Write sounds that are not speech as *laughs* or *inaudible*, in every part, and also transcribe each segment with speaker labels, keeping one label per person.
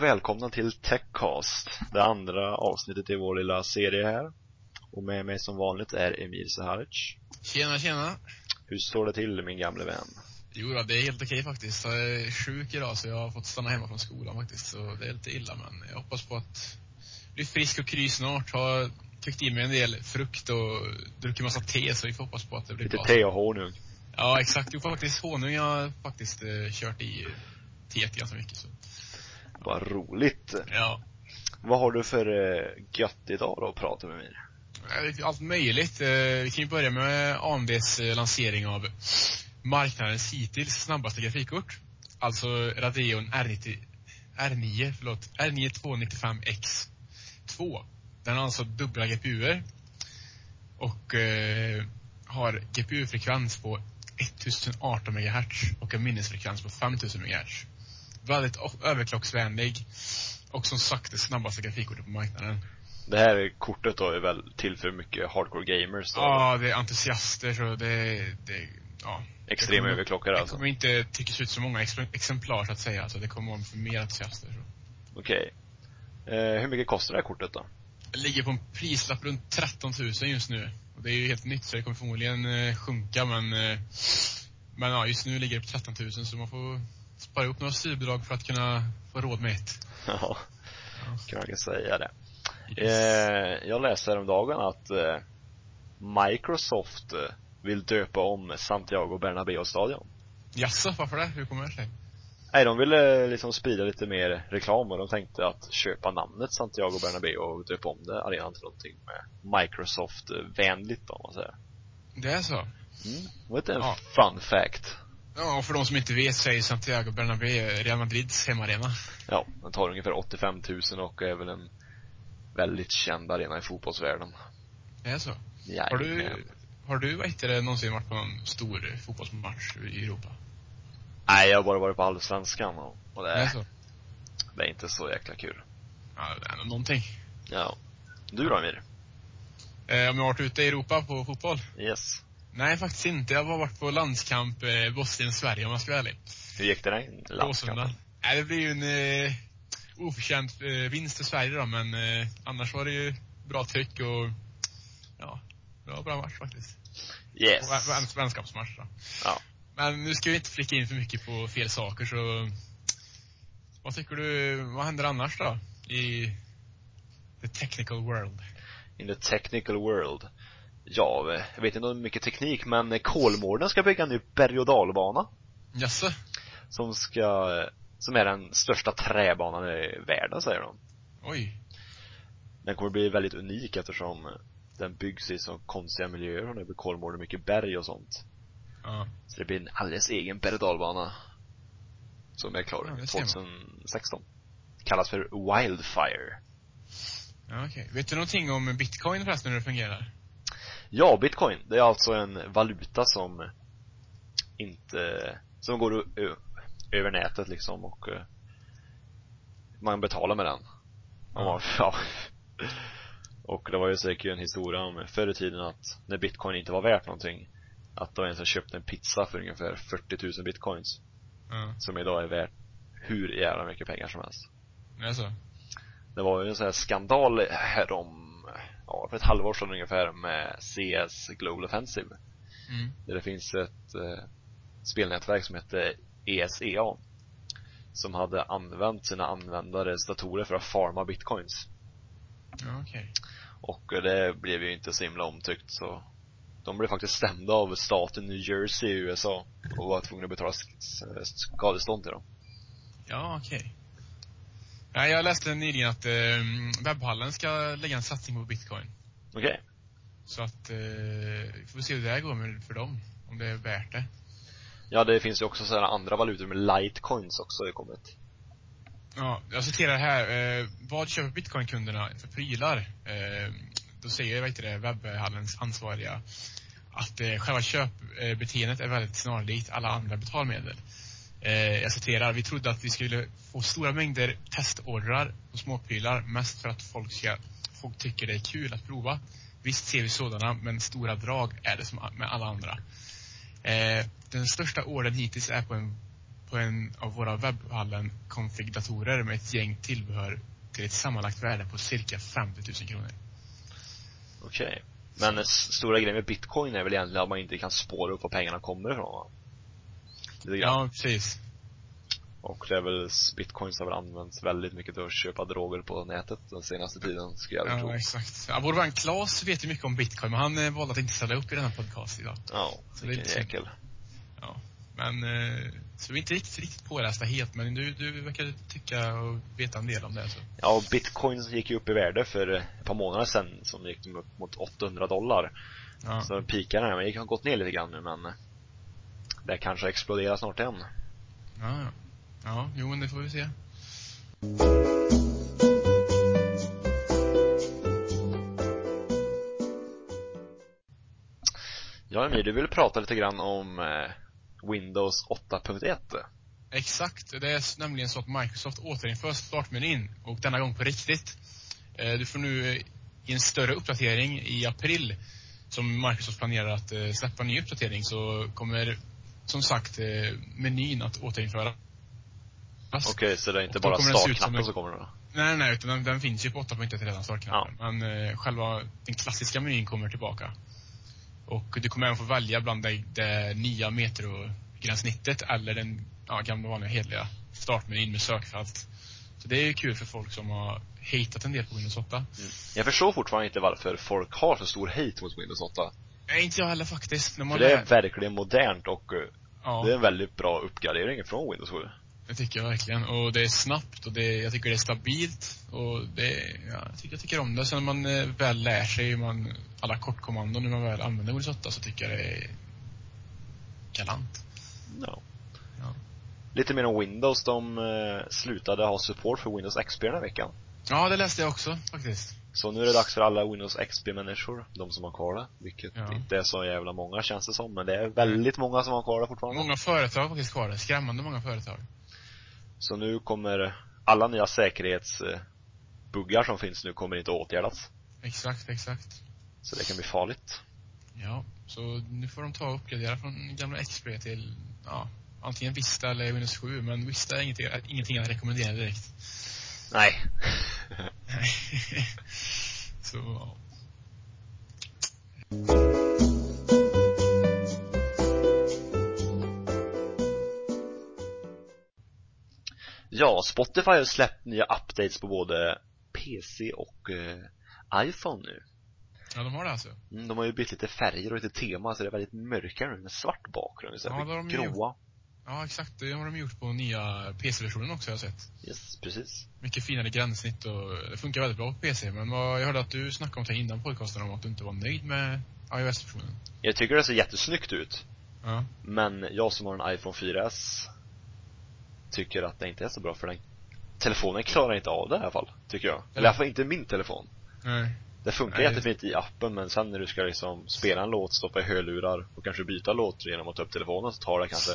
Speaker 1: välkomna till Techcast, det andra avsnittet i vår lilla serie här. Och med mig som vanligt är Emir Seharic.
Speaker 2: Tjena, tjena.
Speaker 1: Hur står det till min gamle vän?
Speaker 2: Jo, då, det är helt okej faktiskt. Jag är sjuk idag så jag har fått stanna hemma från skolan faktiskt. Så det är lite illa men jag hoppas på att bli frisk och kry snart. Har tryckt i mig en del frukt och druckit massa te så vi får hoppas på att det blir
Speaker 1: Lite
Speaker 2: bra.
Speaker 1: te och honung.
Speaker 2: Ja, exakt. Jo, faktiskt honung har jag faktiskt eh, kört i teet ganska mycket så.
Speaker 1: Vad roligt!
Speaker 2: Ja.
Speaker 1: Vad har du för eh, gött idag då att prata med Emir?
Speaker 2: Eh, Allt möjligt. Eh, Vi kan ju börja med AMDs eh, lansering av marknadens hittills snabbaste grafikkort. Alltså Radeon R90, R9, förlåt, R9 295X 2. Den har alltså dubbla GPUer och eh, har GPU-frekvens på 1018 MHz och en minnesfrekvens på 5000 MHz. Väldigt o- överklocksvänlig och som sagt det snabbaste grafikkortet på marknaden.
Speaker 1: Det här kortet då är väl till för mycket hardcore gamers då?
Speaker 2: Ja, det är entusiaster så det, det ja. det
Speaker 1: Extrema
Speaker 2: kommer-
Speaker 1: överklockare
Speaker 2: Det
Speaker 1: alltså?
Speaker 2: kommer inte tryckas ut så många ex- exemplar så att säga. Alltså, det kommer vara för mer entusiaster. Så.
Speaker 1: Okej. Eh, hur mycket kostar det här kortet då? *laughs*
Speaker 2: Det ligger på en prislapp runt 13 000 just nu. Och det är ju helt nytt så det kommer förmodligen eh, sjunka men, eh, men ja, just nu ligger det på 13 000 så man får spara ihop några styrbidrag för att kunna få råd med ett.
Speaker 1: Ja, kan man säga det.
Speaker 2: Yes.
Speaker 1: Eh, jag läste häromdagen att eh, Microsoft eh, vill döpa om Santiago Bernabéu-stadion.
Speaker 2: Jaså, varför det? Hur kommer det sig?
Speaker 1: Nej, de ville eh, liksom sprida lite mer reklam och de tänkte att köpa namnet Santiago Bernabéu och döpa om det, arenan till någonting med Microsoft-vänligt om man säger.
Speaker 2: Det är så?
Speaker 1: Mm. Var inte en
Speaker 2: Ja.
Speaker 1: fun fact?
Speaker 2: Ja, och för de som inte vet så är ju Santiago Bernabéu Real Madrids hemarena.
Speaker 1: Ja, den tar ungefär 85 000 och är väl en väldigt känd arena i fotbollsvärlden.
Speaker 2: Det är så? Har
Speaker 1: Jajamän.
Speaker 2: du, har du vad heter det, någonsin varit på någon stor fotbollsmatch i Europa?
Speaker 1: Nej, jag har bara varit på Allsvenskan och, och det,
Speaker 2: Är det
Speaker 1: är,
Speaker 2: så?
Speaker 1: det är inte så jäkla kul.
Speaker 2: Ja, det är nog någonting.
Speaker 1: Ja. Du då Emir?
Speaker 2: Eh, om jag har varit ute i Europa på fotboll?
Speaker 1: Yes.
Speaker 2: Nej, faktiskt inte. Jag har varit på landskamp eh, Bosnien-Sverige om jag ska vara ärlig.
Speaker 1: Hur gick det där
Speaker 2: Åsunda. Nej, det blir ju en eh, oförtjänt eh, vinst för Sverige då, men eh, annars var det ju bra tryck och ja, det var en bra match faktiskt.
Speaker 1: Yes.
Speaker 2: Och vä- vän- Vänskapsmatch då.
Speaker 1: Ja.
Speaker 2: Men nu ska vi inte flicka in för mycket på fel saker så vad tycker du, vad händer annars då? I the technical world?
Speaker 1: In the technical world. Ja, eh, jag vet inte om mycket teknik, men Kolmården ska bygga en ny berg och dalbana.
Speaker 2: Jaså?
Speaker 1: Som ska, eh, som är den största träbanan i världen säger de.
Speaker 2: Oj.
Speaker 1: Den kommer bli väldigt unik eftersom eh, den byggs i så konstiga miljöer och det blir Kolmården mycket berg och sånt.
Speaker 2: Ja.
Speaker 1: Så det blir en alldeles egen berg och dalbana. Som är
Speaker 2: Ja,
Speaker 1: klar
Speaker 2: det ser man.
Speaker 1: 2016. Kallas för Wildfire.
Speaker 2: ja okej. Vet du någonting om bitcoin förresten hur det fungerar?
Speaker 1: Ja, bitcoin, det är alltså en valuta som inte, som går ö- ö- över nätet liksom och eh, man betalar med den. Om man, *laughs* ja. Och det var ju säkert en historia om förr i tiden att när bitcoin inte var värt någonting att det var en som köpte en pizza för ungefär 40 000 bitcoins
Speaker 2: Ja.
Speaker 1: som idag är värt hur jävla mycket pengar som helst.
Speaker 2: Det är så?
Speaker 1: Det var ju en sån här skandal härom, ja, för ett halvår sedan ungefär med CS Global Offensive
Speaker 2: Mm.
Speaker 1: där det finns ett eh, spelnätverk som heter E ESEA som hade använt sina användares datorer för att farma bitcoins.
Speaker 2: Ja, okej.
Speaker 1: Och eh, det blev ju inte så himla omtyckt så de blev faktiskt stämda av staten New Jersey i USA och var tvungna att betala sk- s- skadestånd till dem.
Speaker 2: Ja, okej. Ja, jag läste nyligen att eh, webbhallen ska lägga en satsning på bitcoin.
Speaker 1: Okej.
Speaker 2: Så att, eh, vi får se hur det här går med, för dem. Om det är värt det.
Speaker 1: Ja, det finns ju också sådana andra valutor med litecoins också har ju kommit.
Speaker 2: Ja, jag citerar här. Eh, vad köper bitcoinkunderna för prylar? Eh, då säger vad heter det, webbhallens ansvariga att eh, själva köpbeteendet är väldigt snarlikt alla andra betalmedel. Eh, jag citerar. Vi trodde att vi skulle få stora mängder testordrar på småprylar mest för att folk, ska, folk tycker det är kul att prova. Visst ser vi sådana, men stora drag är det som med alla andra. Eh, den största ordern hittills är på en på en av våra webbhallen konfigdatorer med ett gäng tillbehör till ett sammanlagt värde på cirka 50 000 kronor.
Speaker 1: Okej. Men den s- stora grejen med bitcoin är väl egentligen att man inte kan spåra upp var pengarna kommer ifrån va? Lite grann.
Speaker 2: Ja, precis.
Speaker 1: Och det är väl, bitcoins har väl använts väldigt mycket till att köpa droger på nätet den senaste tiden, skulle jag väl tro.
Speaker 2: Ja, exakt. Ja, vår vän Claes vet ju mycket om bitcoin, men han eh, valde att inte ställa upp i denna podcast idag.
Speaker 1: Ja,
Speaker 2: Så det är
Speaker 1: vilken
Speaker 2: lite synd.
Speaker 1: jäkel.
Speaker 2: Ja. Men, eh, så vi är inte riktigt, riktigt pålästa helt, men du, du verkar tycka och veta en del om det. Så.
Speaker 1: Ja, och bitcoin gick ju upp i värde för ett par månader sedan, som gick de upp mot 800 dollar.
Speaker 2: Ja.
Speaker 1: Så pikarna här, men det har gått ner lite grann nu men det kanske exploderar snart igen.
Speaker 2: Ja, ja. ja, jo men det får vi se.
Speaker 1: Ja Emil, du ville prata lite grann om eh, Windows 8.1.
Speaker 2: Exakt, det är s- nämligen så att Microsoft återinför startmenyn och denna gång på riktigt. Eh, Du får nu eh, i en större uppdatering i april som Microsoft planerar att eh, släppa en ny uppdatering så kommer som sagt eh, menyn att återinföras.
Speaker 1: Okej, så det är inte
Speaker 2: Och då
Speaker 1: bara
Speaker 2: kommer den se ut som
Speaker 1: startknappen
Speaker 2: en-
Speaker 1: som kommer då? Mm.
Speaker 2: Nej, nej, utan den, den finns ju på 8.1 redan, startknappen. Men eh, själva den klassiska menyn kommer tillbaka. Och du kommer även få välja bland det, det nya metrogränssnittet eller den ja, gamla vanliga hederliga startmenyn med sökfält. Så det är ju kul för folk som har hatat en del på Windows 8.
Speaker 1: Jag förstår fortfarande inte varför folk har så stor hate mot Windows 8.
Speaker 2: Nej, inte jag heller faktiskt. När man
Speaker 1: För det är
Speaker 2: lä-
Speaker 1: verkligen modernt och eh,
Speaker 2: ja,
Speaker 1: det är en väldigt bra uppgradering från Windows 7.
Speaker 2: det tycker jag verkligen. Och det är snabbt och det, jag tycker det är stabilt. Och det, ja, jag, tycker, jag tycker om det. Sen när man eh, väl lär sig hur man, alla kortkommandon när man väl använder Windows 8 så tycker jag det är galant.
Speaker 1: Ja.
Speaker 2: Ja.
Speaker 1: Lite mer om Windows, de eh, slutade ha support för Windows XP den här veckan.
Speaker 2: Ja, det läste jag också faktiskt.
Speaker 1: Så nu är det dags för alla Windows XP-människor, de som har kvar det, vilket
Speaker 2: Ja.
Speaker 1: inte är så jävla många känns det som, men det är väldigt många som har kvar det fortfarande.
Speaker 2: Många företag har faktiskt kvar det. Skrämmande många företag.
Speaker 1: Så nu kommer alla nya säkerhetsbuggar som finns nu kommer inte att åtgärdas.
Speaker 2: Exakt, exakt.
Speaker 1: Så det kan bli farligt.
Speaker 2: Ja, så nu får de ta och uppgradera från gamla XP till ja, antingen Vista eller Windows 7. Men Vista är inget, ingenting jag rekommenderar direkt. *laughs*
Speaker 1: Nej.
Speaker 2: Nej. så, ja.
Speaker 1: Ja, Spotify har släppt nya updates på både PC och eh, iPhone nu.
Speaker 2: ja, de har det alltså.
Speaker 1: Mm, de har ju bytt lite färger och lite tema, så det är väldigt mörka nu med svart bakgrund. Så
Speaker 2: Ja, det har de ju
Speaker 1: gråa.
Speaker 2: Ja, exakt. Det har de gjort på nya PC-versionen också har jag sett.
Speaker 1: Yes, precis.
Speaker 2: Mycket finare gränssnitt och det funkar väldigt bra på PC. Men vad, jag hörde att du snackade om det innan podcasten om att du inte var nöjd med iOS-versionen.
Speaker 1: Jag tycker det ser jättesnyggt ut.
Speaker 2: Ja.
Speaker 1: Men jag som har en iPhone 4S tycker att det inte är så bra för den telefonen klarar inte av det i alla fall, tycker jag. Eller i alla fall inte min telefon.
Speaker 2: Nej.
Speaker 1: Det funkar
Speaker 2: Nej.
Speaker 1: jättefint i appen men sen när du ska liksom spela en låt, stoppa i hörlurar och kanske byta låt genom att ta upp telefonen så tar det kanske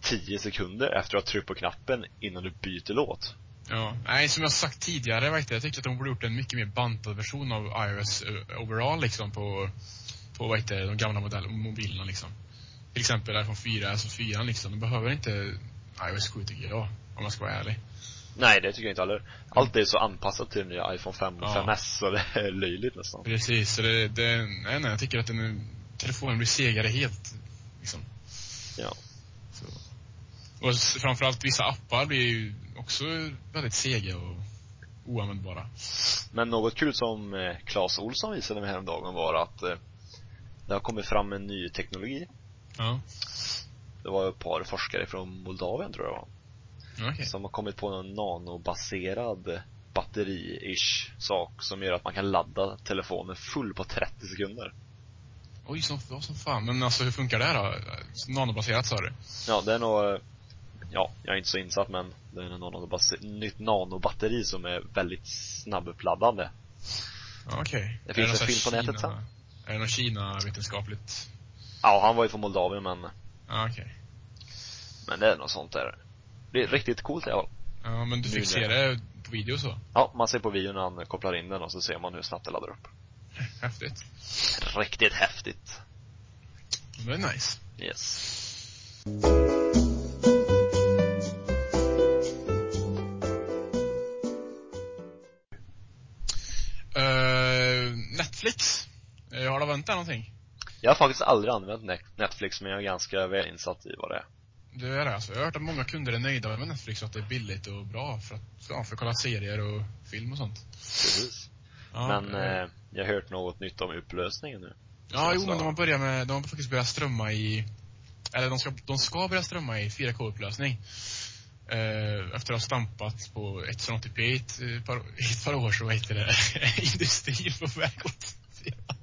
Speaker 1: 10 sekunder efter att du har tryckt på knappen innan du byter låt.
Speaker 2: Ja. Nej, som jag sagt tidigare, vet jag, jag tycker att de borde gjort en mycket mer bantad version av iOS ö- overall liksom på, på vad heter, det, de gamla modell- mobilerna liksom. Till exempel iPhone 4, s och 4 liksom. De behöver inte iOS 7 tycker jag, om jag ska vara ärlig.
Speaker 1: Nej, det tycker jag inte heller. Allt är så anpassat till den nya iPhone 5 och
Speaker 2: Ja.
Speaker 1: 5S så det är löjligt nästan.
Speaker 2: Precis, så det, det nej, nej, jag tycker att den, telefonen blir segare helt. Liksom.
Speaker 1: Ja.
Speaker 2: Så. Och s- framförallt vissa appar blir ju också väldigt sega och oanvändbara.
Speaker 1: Men något kul som eh, Claes Olsson visade mig häromdagen var att eh, det har kommit fram en ny teknologi.
Speaker 2: Ja,
Speaker 1: Det var ett par forskare från Moldavien tror jag det var,
Speaker 2: Ja, okej.
Speaker 1: som har kommit på någon nanobaserad batteri-ish sak som gör att man kan ladda telefonen full på 30 sekunder.
Speaker 2: Oj, som, vad som fan. Men alltså hur funkar det här då? Nanobaserat sa du?
Speaker 1: Ja, det är nog, eh, ja, jag är inte så insatt men det är en nanobase- nytt nanobatteri som är väldigt snabbuppladdande.
Speaker 2: Ja, okej.
Speaker 1: Det
Speaker 2: Är
Speaker 1: finns
Speaker 2: någon
Speaker 1: en
Speaker 2: sån här
Speaker 1: film på nätet
Speaker 2: Kina- Är det något Kina-vetenskapligt?
Speaker 1: Ja, han var ju från Moldavien men,
Speaker 2: Ja, okej.
Speaker 1: men det är något sånt där. Det är riktigt coolt i alla fall.
Speaker 2: Ja, men du
Speaker 1: Nu
Speaker 2: fick se
Speaker 1: det.
Speaker 2: det på video så?
Speaker 1: Ja, man ser på videon när han kopplar in den och så ser man hur snabbt det laddar upp.
Speaker 2: Häftigt.
Speaker 1: Riktigt häftigt.
Speaker 2: Det är nice.
Speaker 1: Yes.
Speaker 2: Netflix. Eh, Har du använt det någonting?
Speaker 1: Jag har faktiskt aldrig använt Net- Netflix men jag är ganska väl insatt i vad det är.
Speaker 2: Du är det alltså. Jag har hört att många kunder är nöjda med Netflix och att det är billigt och bra för att, ja, för att kolla serier och film och sånt.
Speaker 1: Precis.
Speaker 2: Ja,
Speaker 1: men
Speaker 2: eh,
Speaker 1: eh, jag har hört något nytt om upplösningen nu.
Speaker 2: Ja, jo
Speaker 1: så-
Speaker 2: men de har börjat med, de har faktiskt börjat strömma i, eller de ska, de ska börja strömma i 4K-upplösning. Eh, efter att ha stampat på 1080p i ett, eh, par, i ett par år så heter det *laughs* industrin på väg åt 4K.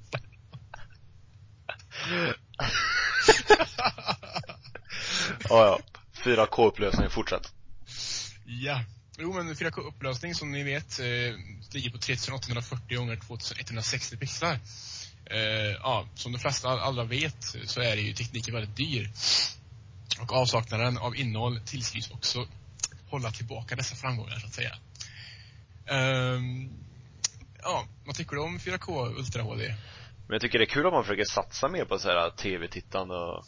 Speaker 1: Ja, ja. 4K-upplösningen, fortsätt.
Speaker 2: Ja. Jo men 4K-upplösning som ni vet eh, ligger på 3840 gånger 2160 pixlar. Eh, ja, som de flesta alla vet så är det ju tekniken väldigt dyr. Och avsaknaden av innehåll tillskrivs också hålla tillbaka dessa framgångar så att säga. Ehm, ja, vad tycker du om 4K Ultra HD?
Speaker 1: Men jag tycker det är kul om man försöker satsa mer på så här TV-tittande och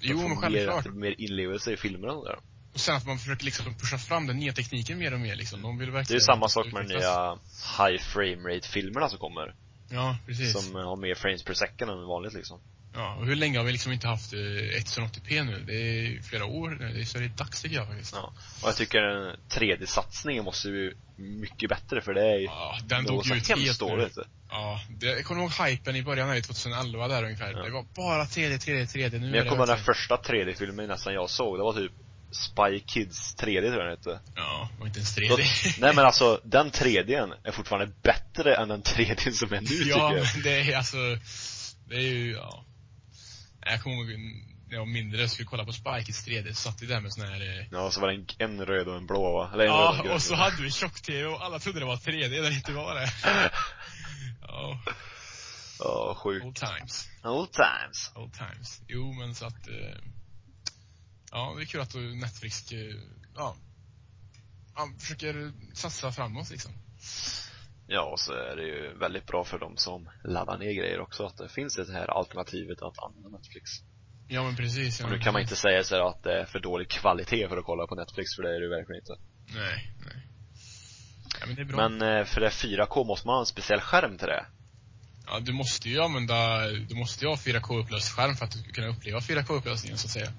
Speaker 2: Jo,
Speaker 1: och få
Speaker 2: men
Speaker 1: mer,
Speaker 2: självklart.
Speaker 1: mer inlevelse i filmerna och där.
Speaker 2: Och sen att man försöker liksom pusha fram den nya tekniken mer och mer liksom. De vill verkligen
Speaker 1: Det är ju samma sak med de
Speaker 2: utvecklas.
Speaker 1: nya high frame rate filmerna som kommer.
Speaker 2: Ja, precis.
Speaker 1: Som har mer frames per second än vanligt liksom.
Speaker 2: Ja, och hur länge har vi liksom inte haft eh, 1080p nu? Det är flera år nu, det är- så det är dags tycker jag faktiskt.
Speaker 1: Ja. Och jag tycker den 3D-satsningen måste ju mycket bättre för det är ju
Speaker 2: Ja, den
Speaker 1: något
Speaker 2: dog
Speaker 1: så
Speaker 2: ju ut helt
Speaker 1: hemskt dåligt.
Speaker 2: Ja, det, jag kommer ihåg hypen i början här 2011 där ungefär.
Speaker 1: Ja.
Speaker 2: Det var bara 3D, 3D, 3D. Nu
Speaker 1: Men jag
Speaker 2: är det
Speaker 1: kommer ihåg den
Speaker 2: verkligen-
Speaker 1: första 3D-filmen nästan jag såg, det var typ Spy Kids 3D tror jag den hette.
Speaker 2: Ja, och inte ens 3D.
Speaker 1: Då-
Speaker 2: *laughs*
Speaker 1: *laughs* Nej men alltså, den 3Dn är fortfarande bättre än den 3Dn som är nu
Speaker 2: ja,
Speaker 1: tycker jag.
Speaker 2: men det är alltså, det är ju, ja. Nej, Jag kommer ihåg när jag var mindre och skulle kolla på Spikes 3D, så satt vi där med sån här eh,
Speaker 1: Ja, och så var det en, en röd och en blå va? Eller en röd
Speaker 2: Ja,
Speaker 1: en grön.
Speaker 2: och så hade vi tjock-tv och alla trodde det var 3D när det inte var det. Ja,
Speaker 1: *laughs* Ja, sjukt.
Speaker 2: old times.
Speaker 1: Old times.
Speaker 2: Old times. Jo, men så att... Eh, ja, det är kul att du Netflix... Eh, ja, ja, försöker satsa framåt liksom.
Speaker 1: Ja, och så är det ju väldigt bra för de som laddar ner grejer också, att det finns det här alternativet att använda Netflix.
Speaker 2: Ja, men precis. Ja,
Speaker 1: Och nu
Speaker 2: men
Speaker 1: kan man
Speaker 2: precis.
Speaker 1: inte säga så här att det är för dålig kvalitet för att kolla på Netflix, för det är det ju verkligen inte.
Speaker 2: Nej, nej. Ja, men det är bra.
Speaker 1: Men eh, för det 4K måste man ha en speciell skärm till det.
Speaker 2: Ja, du måste ju använda... Du måste ju ha 4K-upplöst skärm för att du ska kunna uppleva 4K-upplösningen, så att säga.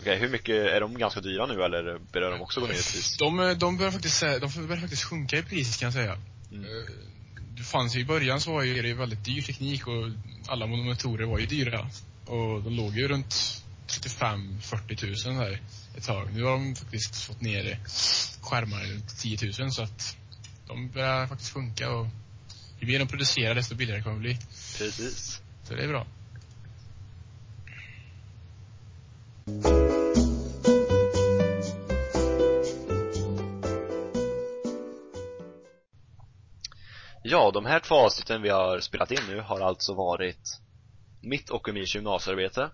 Speaker 1: Okej, hur mycket, är de ganska dyra nu eller börjar de också gå ner i pris?
Speaker 2: De, eh, de börjar faktiskt, sä- de börjar faktiskt sjunka i pris kan jag säga.
Speaker 1: Mm.
Speaker 2: Eh, Det fanns ju i början så var ju det ju väldigt dyr teknik och alla monitorer var ju dyra. Och de låg ju runt 35-40 000 där ett tag. Nu har de faktiskt fått ner skärmar runt 10 000 så att de börjar faktiskt sjunka och ju mer de producerar desto billigare kommer det bli.
Speaker 1: Precis.
Speaker 2: Så det är bra.
Speaker 1: Ja, de här två avsnitten vi har spelat in nu har alltså varit mitt och Emirs gymnasiearbete,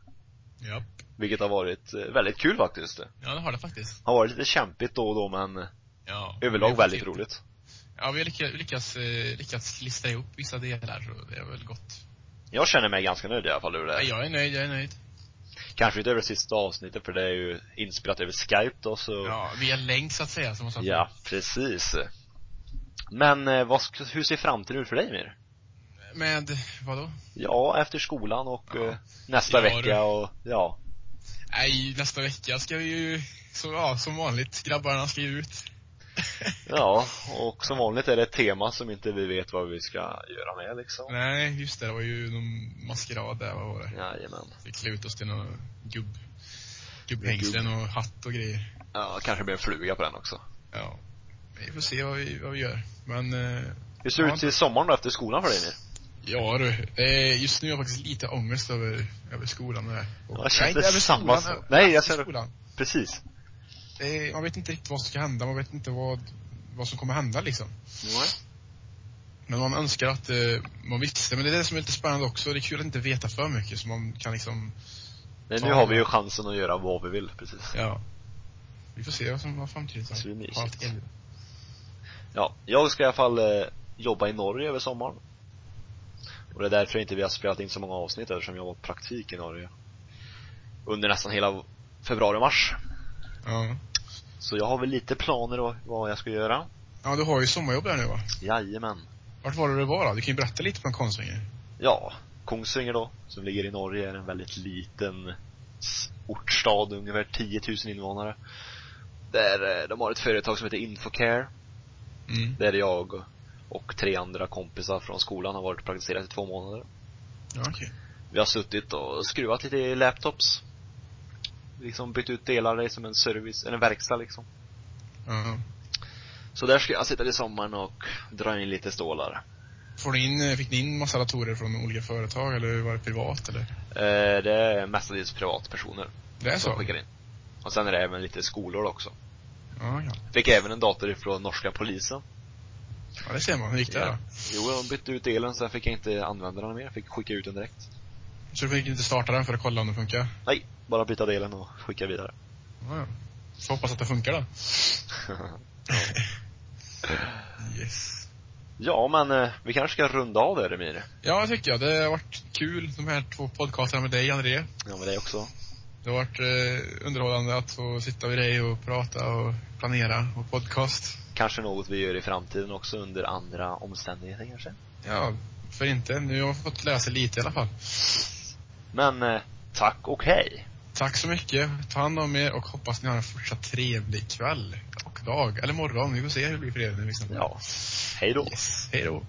Speaker 2: Ja,
Speaker 1: vilket har varit eh, väldigt kul faktiskt. Det
Speaker 2: ja det har det faktiskt.
Speaker 1: har varit lite kämpigt då och då men
Speaker 2: Ja,
Speaker 1: överlag
Speaker 2: Vi har
Speaker 1: väldigt
Speaker 2: fått-
Speaker 1: roligt.
Speaker 2: Ja, vi har lyckats, lyckats, eh, lyckats lista ihop vissa delar och det är väl gott.
Speaker 1: Jag känner mig ganska nöjd i alla fall över det.
Speaker 2: Ja,
Speaker 1: här.
Speaker 2: jag är nöjd, jag är nöjd.
Speaker 1: Kanske inte över det sista avsnittet för det är ju inspelat över skype då så
Speaker 2: Ja, via länk så att säga. Som man sa.
Speaker 1: Ja, precis. Men eh, vad, sk- hur ser framtiden ut för dig Mir?
Speaker 2: Med, vadå?
Speaker 1: Ja, efter skolan och
Speaker 2: Ja.
Speaker 1: eh, nästa
Speaker 2: Ja,
Speaker 1: vecka
Speaker 2: du.
Speaker 1: och ja.
Speaker 2: Nej, nästa vecka ska vi ju, så, ja, som vanligt, grabbarna ska ju ut.
Speaker 1: Ja, och som vanligt är det ett tema som inte vi vet vad vi ska göra med liksom.
Speaker 2: Nej, just det, det var ju någon maskerad där, vad var det?
Speaker 1: Jajamän.
Speaker 2: Vi klä ut oss till någon gubb, gubbhängslen och hatt och grejer.
Speaker 1: Ja, kanske blir en fluga på den också.
Speaker 2: Ja, vi får se vad vi, vad vi gör. Men, eh,
Speaker 1: Hur ser det
Speaker 2: Ja.
Speaker 1: ut till sommaren då efter skolan för dig Mir?
Speaker 2: ja du, eh, just nu har jag faktiskt lite ångest över, över skolan och det här.
Speaker 1: Ja,
Speaker 2: Och-
Speaker 1: känns
Speaker 2: Nej, inte
Speaker 1: det
Speaker 2: över
Speaker 1: samma
Speaker 2: skolan,
Speaker 1: sak?
Speaker 2: över-
Speaker 1: Nej, jag
Speaker 2: över
Speaker 1: ser-
Speaker 2: skolan.
Speaker 1: Precis.
Speaker 2: Eh, man vet inte riktigt vad som ska hända, man vet inte vad, vad som kommer hända liksom. Men man önskar att eh, man visste. Men det är det som är lite spännande också. Det är kul att inte veta för mycket så man kan liksom,
Speaker 1: Nej, nu
Speaker 2: Ja.
Speaker 1: har vi ju chansen att göra vad vi vill, precis.
Speaker 2: ja. Vi får se vad som vad framtiden
Speaker 1: Så det är mysigt.
Speaker 2: har att erbjuda.
Speaker 1: Ja, jag ska i alla fall eh, jobba i Norge över sommaren. Och det är därför inte vi har spelat in så många avsnitt eftersom jag var på praktik i Norge. Under nästan hela februari och mars.
Speaker 2: Ja.
Speaker 1: Så jag har väl lite planer om vad jag ska göra.
Speaker 2: Ja, du har ju sommarjobb där nu va?
Speaker 1: Jajamän.
Speaker 2: Vart var det du var då? Du kan ju berätta lite från Kongsvinger.
Speaker 1: Ja, Kongsvinger då, som ligger i Norge, är en väldigt liten s- ortsstad, ungefär 10 000 invånare. Där eh, de har ett företag som heter Infocare,
Speaker 2: Mm.
Speaker 1: där jag och tre andra kompisar från skolan har varit och praktiserat i två månader.
Speaker 2: Ja, okej.
Speaker 1: Vi har suttit och skruvat lite i laptops. Liksom bytt ut delar, det är som en service, eller en verkstad liksom.
Speaker 2: Ja.
Speaker 1: Så där ska jag sitta i sommaren och dra in lite stålar.
Speaker 2: Får du in, eh, fick ni in massa datorer från olika företag eller var det privat eller?
Speaker 1: Eh, Det är mestadels privatpersoner
Speaker 2: Det är
Speaker 1: som
Speaker 2: så?
Speaker 1: skickar in. Och sen är det även lite skolor också.
Speaker 2: Ja, ja.
Speaker 1: Fick även en dator ifrån norska polisen.
Speaker 2: Ja, det ser man. Hur gick det då?
Speaker 1: Jo, de bytte ut delen, sen fick jag inte använda den mer. Fick skicka ut den direkt.
Speaker 2: Så du fick inte starta den för att kolla om det funkar?
Speaker 1: Nej, bara byta delen och skicka vidare. *laughs*
Speaker 2: Ja, ja. Får hoppas att det funkar då. Yes.
Speaker 1: ja, men eh, vi kanske ska runda av det, Remir.
Speaker 2: Ja, det tycker jag. Det har varit kul, de här två podcasterna med dig, André.
Speaker 1: Ja, med dig också.
Speaker 2: Det har varit eh, underhållande att få sitta med dig och prata och planera och podcast.
Speaker 1: Kanske något vi gör i framtiden också under andra omständigheter kanske.
Speaker 2: Ja, för inte. Nu har jag fått läsa lite i alla fall.
Speaker 1: Men eh, tack och hej.
Speaker 2: Tack så mycket. Ta hand om er och hoppas ni har en fortsatt trevlig kväll och dag. Eller morgon. Vi får se hur det blir för er när vi snackar.
Speaker 1: Ja. Hej då.
Speaker 2: Mm. Yes. Hej då.